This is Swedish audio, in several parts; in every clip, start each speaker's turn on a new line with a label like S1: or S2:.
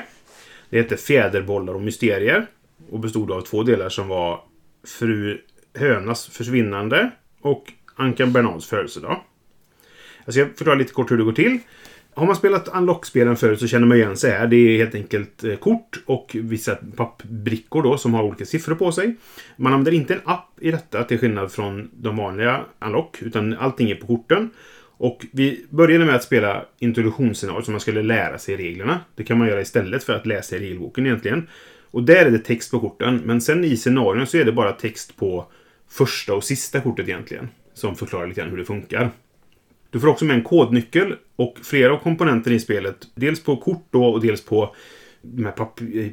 S1: Det hette Fjäderbollar och mysterier och bestod av två delar som var Fru Hönas försvinnande och Ankan Bernards födelsedag. Alltså, Jag ska förklara lite kort hur det går till. Har man spelat Unlock-spelen förut så känner man igen sig här. Det är helt enkelt eh, kort och vissa pappbrickor då som har olika siffror på sig. Man använder inte en app i detta till skillnad från de vanliga Unlock utan allting är på korten. Och vi började med att spela introduktionsscenariot så man skulle lära sig reglerna. Det kan man göra istället för att läsa i regelboken egentligen. Och där är det text på korten, men sen i scenarion så är det bara text på första och sista kortet egentligen. Som förklarar lite grann hur det funkar. Du får också med en kodnyckel och flera av komponenterna i spelet, dels på kort då och dels på de här papp- eh,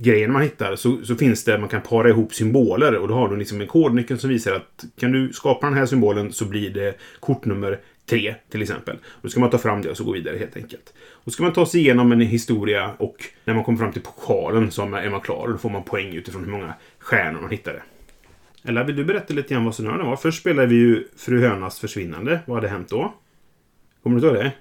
S1: grejerna man hittar, så, så finns det, man kan para ihop symboler och då har du liksom en kodnyckel som visar att kan du skapa den här symbolen så blir det kortnummer 3 till exempel. Då ska man ta fram det och så gå vidare helt enkelt. Och ska man ta sig igenom en historia och när man kommer fram till pokalen så är man- är man klar och då får man poäng utifrån hur många stjärnor man hittade. Ella, vill du berätta lite grann vad scenarierna var? Först spelade vi ju Fru Hönas försvinnande. Vad hade hänt då? Kommer du ihåg det?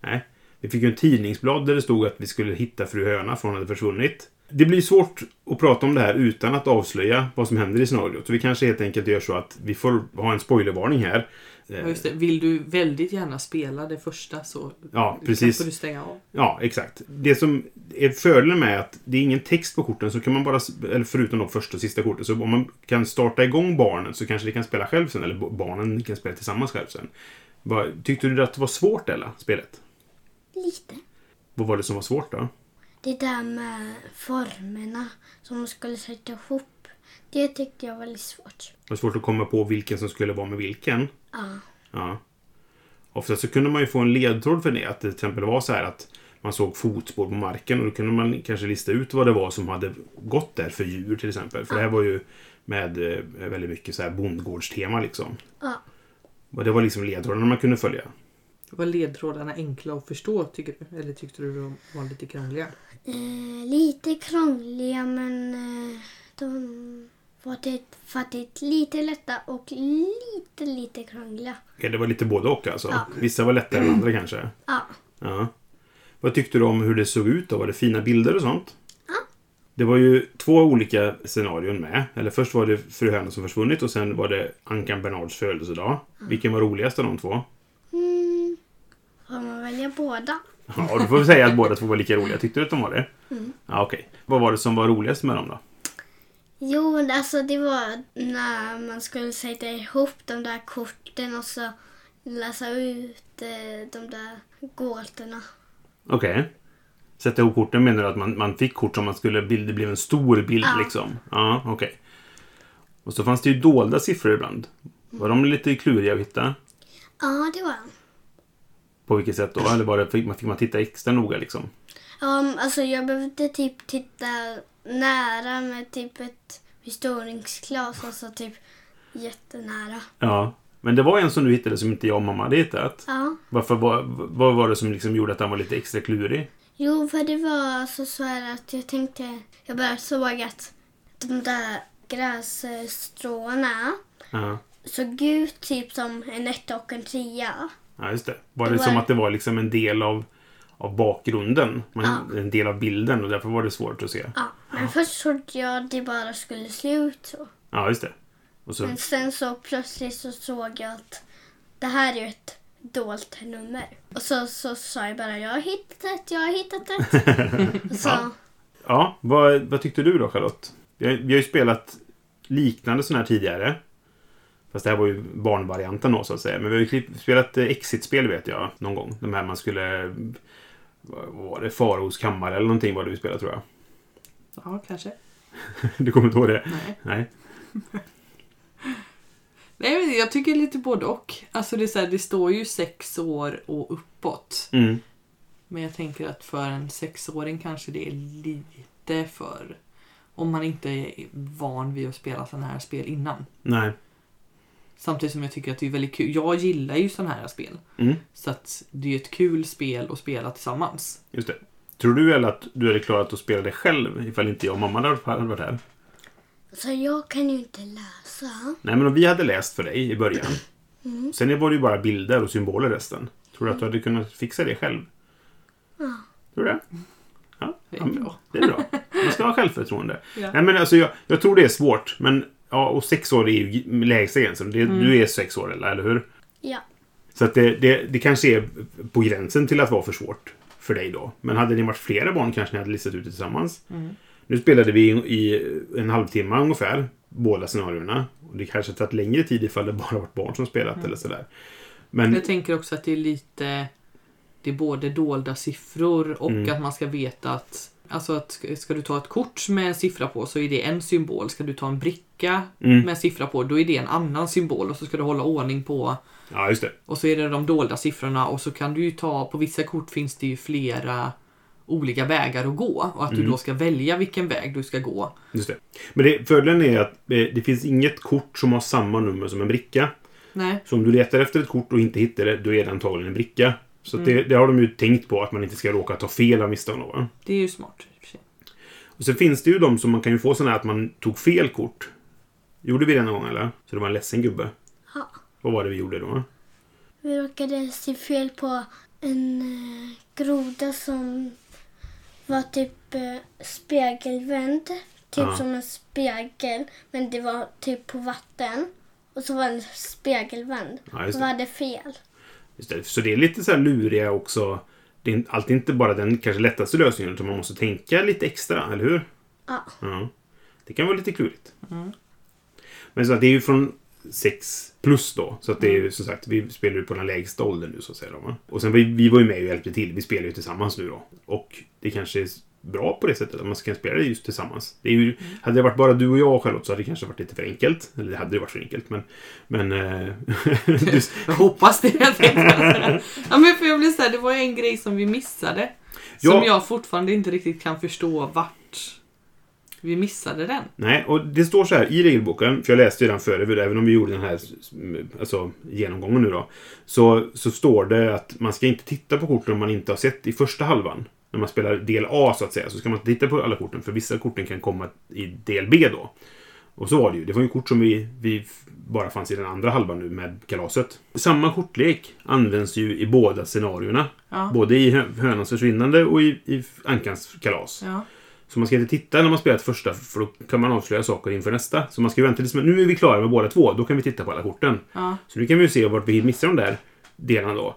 S1: Nej. Vi fick ju en tidningsblad där det stod att vi skulle hitta Fru Höna för hon hade försvunnit. Det blir svårt att prata om det här utan att avslöja vad som händer i scenariot. Så vi kanske helt enkelt gör så att vi får ha en spoilervarning här. Eh,
S2: Ja, just det. Vill du väldigt gärna spela det första så
S1: Ja, precis.
S2: får du stänga av.
S1: Ja, exakt. Det som är fördelen med att det är ingen text på korten så kan man bara, eller förutom de första och sista korten, så om man kan starta igång barnen så kanske de kan spela själv sen, eller barnen kan spela tillsammans själv sen. Vad- Tyckte du att det var svårt, eller spelet?
S3: Lite.
S1: Vad var det som var svårt då?
S3: Det där med formerna som de skulle sätta ihop. Det tyckte jag var lite svårt.
S1: Det var svårt att komma på vilken som skulle vara med vilken.
S3: Ja.
S1: Ja. Ofta så kunde man ju få en ledtråd för det. Att det till exempel var så här att man såg fotspår på marken och då kunde man kanske lista ut vad det var som hade gått där för djur till exempel. För det här var ju med eh, väldigt mycket så här bondgårdstema liksom.
S3: Ja.
S1: Och det var liksom ledtrådarna man kunde följa.
S2: Var ledtrådarna enkla att förstå tycker du? Eller tyckte du de var lite krångliga?
S3: Eh, lite krångliga men eh, de var det fattigt lite lätta och lite, lite krångliga.
S1: Okej, det var lite både och alltså.
S3: Ja.
S1: Vissa var lättare än andra kanske.
S3: Ja.
S1: Ja. Vad tyckte du om hur det såg ut då? Var det fina bilder och sånt?
S3: Ja.
S1: Det var ju två olika scenarion med. Eller först var det Fru Höna som försvunnit och sen var det Ankan Bernards födelsedag. Vilken var roligast av de två?
S3: Mm. Får man välja båda?
S1: Ja, du får väl
S3: Mm.
S1: säga att båda två var lika roliga. Tyckte du att de var det? Ja, okej. Vad var det som var roligast med dem då?
S3: Jo, men alltså det var när man skulle sätta ihop de där korten och så läsa ut eh, de där gåtorna.
S1: Okej. Sätta ihop korten menar du att man, man fick kort som man skulle bild, det blev en stor bild
S3: Ja.
S1: liksom? Ja, okej. Och så fanns det ju dolda siffror ibland. Var de lite kluriga att hitta?
S3: Ja, det var han.
S1: På vilket sätt då? Eller var det, fick, man, fick man titta extra noga liksom?
S3: Um, alltså jag behövde typ titta nära med typ ett förstoringsglas och så typ jättenära.
S1: Ja. Men det var en som du hittade som inte jag och mamma hade hittat.
S3: Ja.
S1: Varför, vad, vad var det som liksom gjorde att han var lite extra klurig?
S3: Jo, för det var alltså så här att jag tänkte, jag bara såg att de där grässtråna
S1: Ja.
S3: såg ut typ som en etta och en trea.
S1: Ja, just det. Var det,
S3: Det var-
S1: som att det var liksom en del av, av bakgrunden? Man,
S3: Ja.
S1: En del av bilden och därför var det svårt att se?
S3: Ja, men först trodde jag det bara skulle se ut så.
S1: Ja, just det. Och så,
S3: Men sen så plötsligt så såg jag att det här är ju ett dolt nummer. Och så, så sa jag bara jag har hittat ett, jag har hittat ett. Och så,
S1: Ja. ja, vad, vad tyckte du då Charlotte? Vi har, vi har ju spelat liknande sådana här tidigare. Fast det här var ju barnvarianten då så att säga. Men vi har ju klipp- spelat eh, Exit-spel vet jag någon gång. De här man skulle... Vad var det? Faraos kammare eller någonting var det vi spelade tror jag.
S2: Ja, kanske.
S1: Du kommer inte ihåg det?
S2: Nej.
S1: Nej.
S2: Nej, men jag tycker lite både och. Alltså det, är så här, det står ju sex år och uppåt.
S1: Mm.
S2: Men jag tänker att för en sexåring kanske det är lite för... Om man inte är van vid att spela sådana här spel innan.
S1: Nej.
S2: Samtidigt som jag tycker att det är väldigt kul. Jag gillar ju sådana här spel.
S1: Mm.
S2: Så att det är ett kul spel att spela tillsammans.
S1: Just det. Tror du eller att du hade klarat att spela det själv ifall inte jag och mamma hade varit här?
S3: så jag kan ju inte läsa.
S1: Nej, men om vi hade läst för dig i början. Sen var det ju bara bilder och symboler resten. Tror du att du hade kunnat fixa det själv?
S3: Ja.
S1: Tror du det? Ja,
S2: Det är
S1: ja, men
S2: bra.
S1: Det är bra. Man ska ha självförtroende.
S2: Ja.
S1: Nej, men alltså, jag, jag tror det är svårt. Men, ja, och sex år är ju lägsta gränsen. Det,
S2: Mm.
S1: Du är sex år, eller, eller hur?
S3: Ja.
S1: Så att det, det, det kanske är på gränsen till att vara för svårt för dig då. Men hade ni varit flera barn kanske ni hade listat ut det tillsammans. Nu spelade vi i- i en halvtimme ungefär, båda scenarierna. Och det kanske tagit längre tid ifall det bara varit barn som spelat eller sådär. Men
S2: Jag tänker också att det är lite... Det är både dolda siffror och att man ska veta att... Alltså att ska- ska du ta ett kort med en siffra på så är det en symbol. Ska du ta en bricka med en siffra på då är det en annan symbol och så ska du hålla ordning på
S1: ja, just det.
S2: Och så är det de dolda siffrorna och så kan du ju ta, på vissa kort finns det ju flera olika vägar att gå och att du då ska välja vilken väg du ska gå.
S1: Just det. Men det, fördelen är att eh, det finns inget kort som har samma nummer som en bricka.
S2: Nej,
S1: Så om du letar efter ett kort och inte hittar det, då är det antagligen en bricka. Så att det, det har de ju tänkt på, att man inte ska råka ta fel av misstag. då, va?
S2: det är ju smart. i och för sig.
S1: Och sen finns det ju de som man kan ju få sådana här att man tog fel kort. Gjorde vi det någon gång eller? Så det var en ledsen gubbe.
S3: ja.
S1: Vad var det vi gjorde då?
S3: Vi råkade se fel på en eh, groda som var typ eh, spegelvänd. Typ
S1: Ja.
S3: som en spegel, men det var typ på vatten. Och så var den spegelvänd.
S1: Ja, just
S3: och
S1: det.
S3: hade fel.
S1: Just det. Så det är lite så här luriga också. Det är alltid inte bara den kanske lättaste lösningen utan man måste tänka lite extra, eller hur?
S3: Ja.
S1: Ja. Det kan vara lite klurigt. Men så att det är ju från 6 plus då. Så att det är ju som sagt, vi spelar ju på den lägsta åldern nu så att säga. Då, va? Och sen vi, vi var ju med och hjälpte till. Vi spelar ju tillsammans nu då. Och det kanske är bra på det sättet att man kan spela det just tillsammans. Det är ju, hade det varit bara du och jag Charlotte så hade det kanske varit lite för enkelt. Eller det hade ju varit för enkelt men... Men... eh, du,
S2: Jag hoppas det. Jag tänkte säga. ja, men för jag blir så här, det var ju en grej som vi missade. Som
S1: Ja.
S2: jag fortfarande inte riktigt kan förstå vart vi missade den.
S1: Nej, och det står så här i regelboken, för jag läste ju den före, även om vi gjorde den här alltså, genomgången nu då. Så, så står det att man ska inte titta på korten om man inte har sett i första halvan. När man spelar del A så att säga, så ska man inte titta på alla korten, för vissa korten kan komma i del B då. Och så var det ju. Det var ju kort som vi, vi f- bara fanns i den andra halvan nu med kalaset. Samma kortlek används ju i båda scenarierna.
S2: Ja.
S1: Både i hö- hönans försvinnande och i, i ankans kalas.
S2: Ja.
S1: Så man ska inte titta när man spelat första för då kan man avslöja saker inför nästa. Så man ska vänta tills men nu är vi klara med båda två. Då kan vi titta på alla korten.
S2: Ja.
S1: Så nu kan vi ju se vart vi missar de där delarna
S2: Mm.
S1: då.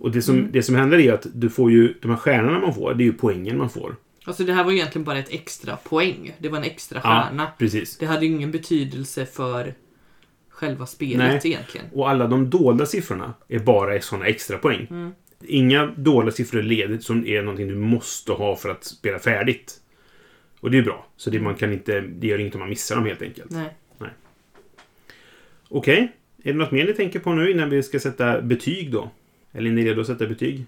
S1: Och det som, det som händer är att du får ju, de här stjärnorna man får, det är ju poängen man får.
S2: Alltså det här var ju egentligen bara ett extra poäng. Det var en extra stjärna.
S1: Ja, precis.
S2: Det hade ju ingen betydelse för själva spelet
S1: Nej.
S2: egentligen.
S1: Och alla de dolda siffrorna är bara sådana extra poäng.
S2: Mm.
S1: Inga dolda siffror leder som är någonting du måste ha för att spela färdigt. Och det är bra. Så det, man kan inte, det gör inget om man missar dem helt enkelt.
S2: Nej.
S1: Okej. Är det något mer ni tänker på nu innan vi ska sätta betyg då? Eller är ni redo att sätta betyg?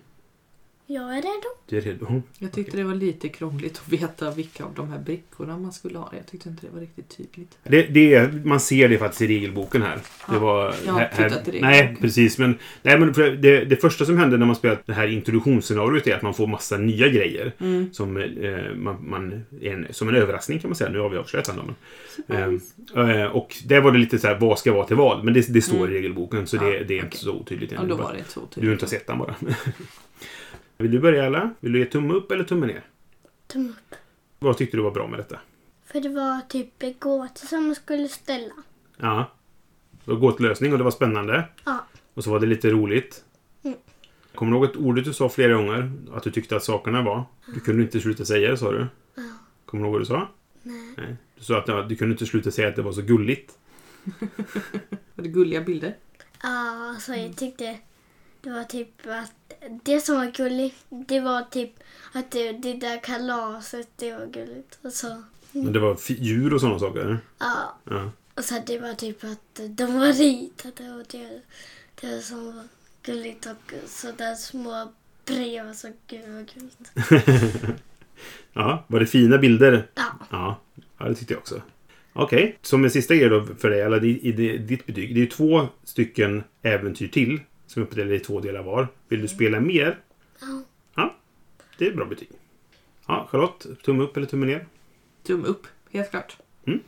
S3: Jag är redo.
S1: Du är redo?
S2: Jag tyckte det var lite krångligt att veta vilka av de här brickorna man skulle ha. Jag tyckte inte det var riktigt tydligt.
S1: Det, det är, man ser det faktiskt i regelboken här. Det var,
S2: jag har
S1: här, här,
S2: tittat i
S1: Nej,
S2: regelboken.
S1: precis. Men, nej, men för det, det första som händer när man spelar det här introduktionsscenariot är att man får massa nya grejer.
S2: Mm.
S1: Som, eh, man, man, en, som en överraskning kan man säga. Nu har vi avslöjat den. då, men. Ehm, eh, och där var det lite så här, vad ska vara till vad? Men det, det står i regelboken, så det, det är inte
S2: Mm. okej.
S1: så otydligt.
S2: Ja, då var det inte så
S1: Du har
S2: tydligt.
S1: inte sett den bara. Vill du börja alla? Vill du ge tumme upp eller tumme ner?
S3: Tumme upp.
S1: Vad tyckte du var bra med detta?
S3: För det var typ gåtor som man skulle ställa.
S1: Ja. Det var gåtlösning och det var spännande.
S3: Ja.
S1: Och så var det lite roligt.
S3: Mm.
S1: Kommer du ihåg ett ordet du sa flera gånger? Att du tyckte att sakerna var? Du kunde inte sluta säga det, sa du. Kommer du ihåg vad du sa? Nej. Du sa att ja, du kunde inte sluta säga att det var så gulligt.
S2: Var det gulliga bilder?
S3: Ja, så
S1: Mm.
S3: jag tyckte det var typ att det som var gulligt, det var typ att det, det där kalaset, det var gulligt. Och så,
S1: Men det var fi- djur och sådana saker.
S3: ja.
S1: Ja.
S3: Och så det var typ att de var ritade och det, det var så gulligt och så där små brev och så gud vad gulligt.
S1: ja. Var det fina bilder?
S3: Ja,
S1: Ja. Ja, det tyckte jag också. Okej. Som en sista grej då för dig, eller i, i det- ditt betyg. Det är ju två stycken äventyr till som är uppdelade i två delar var. Vill du spela mer?
S3: Ja.
S1: Ja. Det är ett bra betyg. Ja, Charlotte, tumme upp eller tumme ner?
S2: Tum upp, helt klart.
S1: Mm.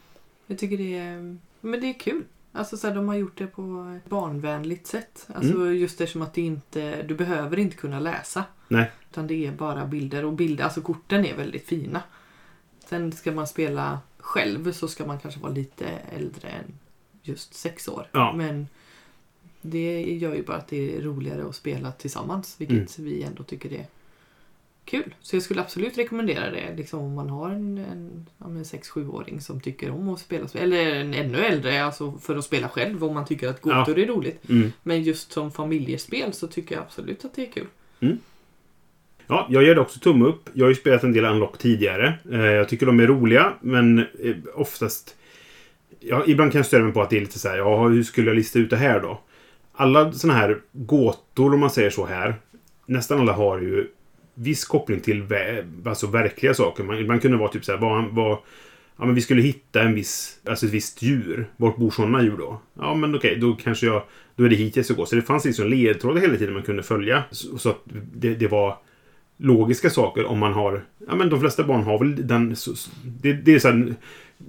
S2: Jag tycker det är, men det är kul. Alltså så här, de har gjort det på ett barnvänligt sätt. Alltså
S1: Mm.
S2: just eftersom att det inte, du behöver inte kunna läsa.
S1: Nej.
S2: Utan det är bara bilder och bilder, alltså korten är väldigt fina. Sen ska man spela själv så ska man kanske vara lite äldre än just sex år.
S1: Ja.
S2: Men det gör ju bara att det är roligare att spela tillsammans, vilket vi ändå tycker är kul. Så jag skulle absolut rekommendera det liksom om man har en, en, ja, men en 6-7-åring som tycker om att spela spel. Eller en ännu äldre, alltså för att spela själv om man tycker att
S1: Ja.
S2: gåtor är roligt.
S1: Mm.
S2: Men just som familjespel så tycker jag absolut att det är kul.
S1: Ja, jag ger det också tumme upp. Jag har ju spelat en del Unlock tidigare. Eh, Jag tycker de är roliga, men eh, oftast... Ja, ibland kan jag störa mig på att det är lite så här, ja, hur skulle jag lista ut det här då? Alla sådana här gåtor, om man säger så här, nästan alla har ju viss koppling till vä- alltså verkliga saker. Man, man kunde vara typ så här, vad, vad, ja, men vi skulle hitta en viss, alltså ett visst djur. Vart bor sådana djur då? Ja, men okej, då kanske jag, då är det hit jag ska gå. Så det fanns liksom ledtrådar hela tiden man kunde följa. Så, så att det, det var logiska saker om man har... Ja, men de flesta barn har väl den... så- så- Det, det är så här,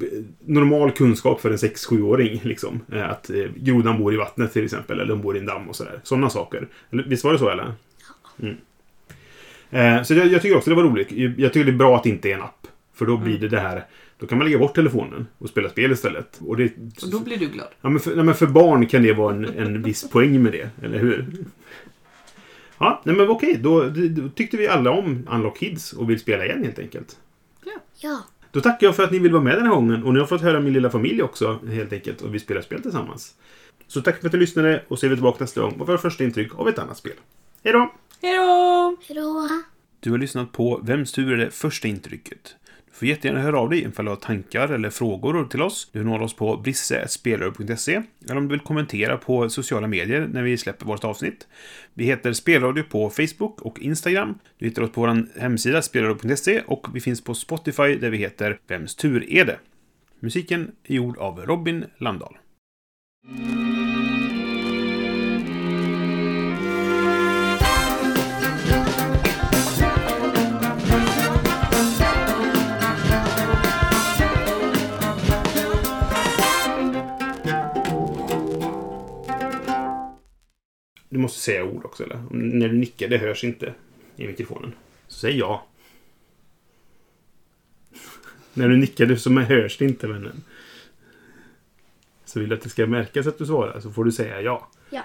S1: eh, normal kunskap för en 6-7-åring. Liksom. Eh, Att eh, grodan bor i vattnet till exempel, eller de bor i en damm och sådär. Sådana saker. Eller, Visst var det så, eller? Mm. Eh, Så jag, jag tycker också det var roligt. Jag tycker det är bra att det inte är en app. För
S2: Mm.
S1: då blir det det här... Då kan man lägga bort telefonen och spela spel istället. Och det,
S2: Och då blir du glad.
S1: Ja, men för, nej, men för barn kan det vara en, en viss poäng med det, eller hur? Ja, nej, men okej, då, då tyckte vi alla om Unlock Kids och vill spela igen helt enkelt.
S3: ja,
S1: Då tackar jag för att ni vill vara med den här gången och ni har fått höra min lilla familj också helt enkelt och vi spelar spel tillsammans. Så tack för att du lyssnade och så är vi tillbaka nästa gång med våra första intryck av ett annat spel. Hej då!
S2: Hej då!
S3: hejdå.
S1: Du har lyssnat på Vems tur är det första intrycket? Du får jättegärna höra av dig ifall du har tankar eller frågor till oss. Du når oss på brisse.spelradio.se eller om du vill kommentera på sociala medier när vi släpper vårt avsnitt. Vi heter Spelradio på Facebook och Instagram. Du hittar oss på vår hemsida spelradio.se och vi finns på Spotify där vi heter Vems tur är det? Musiken är gjord av Robin Landahl. Du måste säga ord också, eller? Om- När du nickar, det hörs inte i mikrofonen. Så säg ja. när du nickar det så hörs det inte, vännen. Så vill du att det ska märkas att du svarar så får du säga ja.
S3: Ja.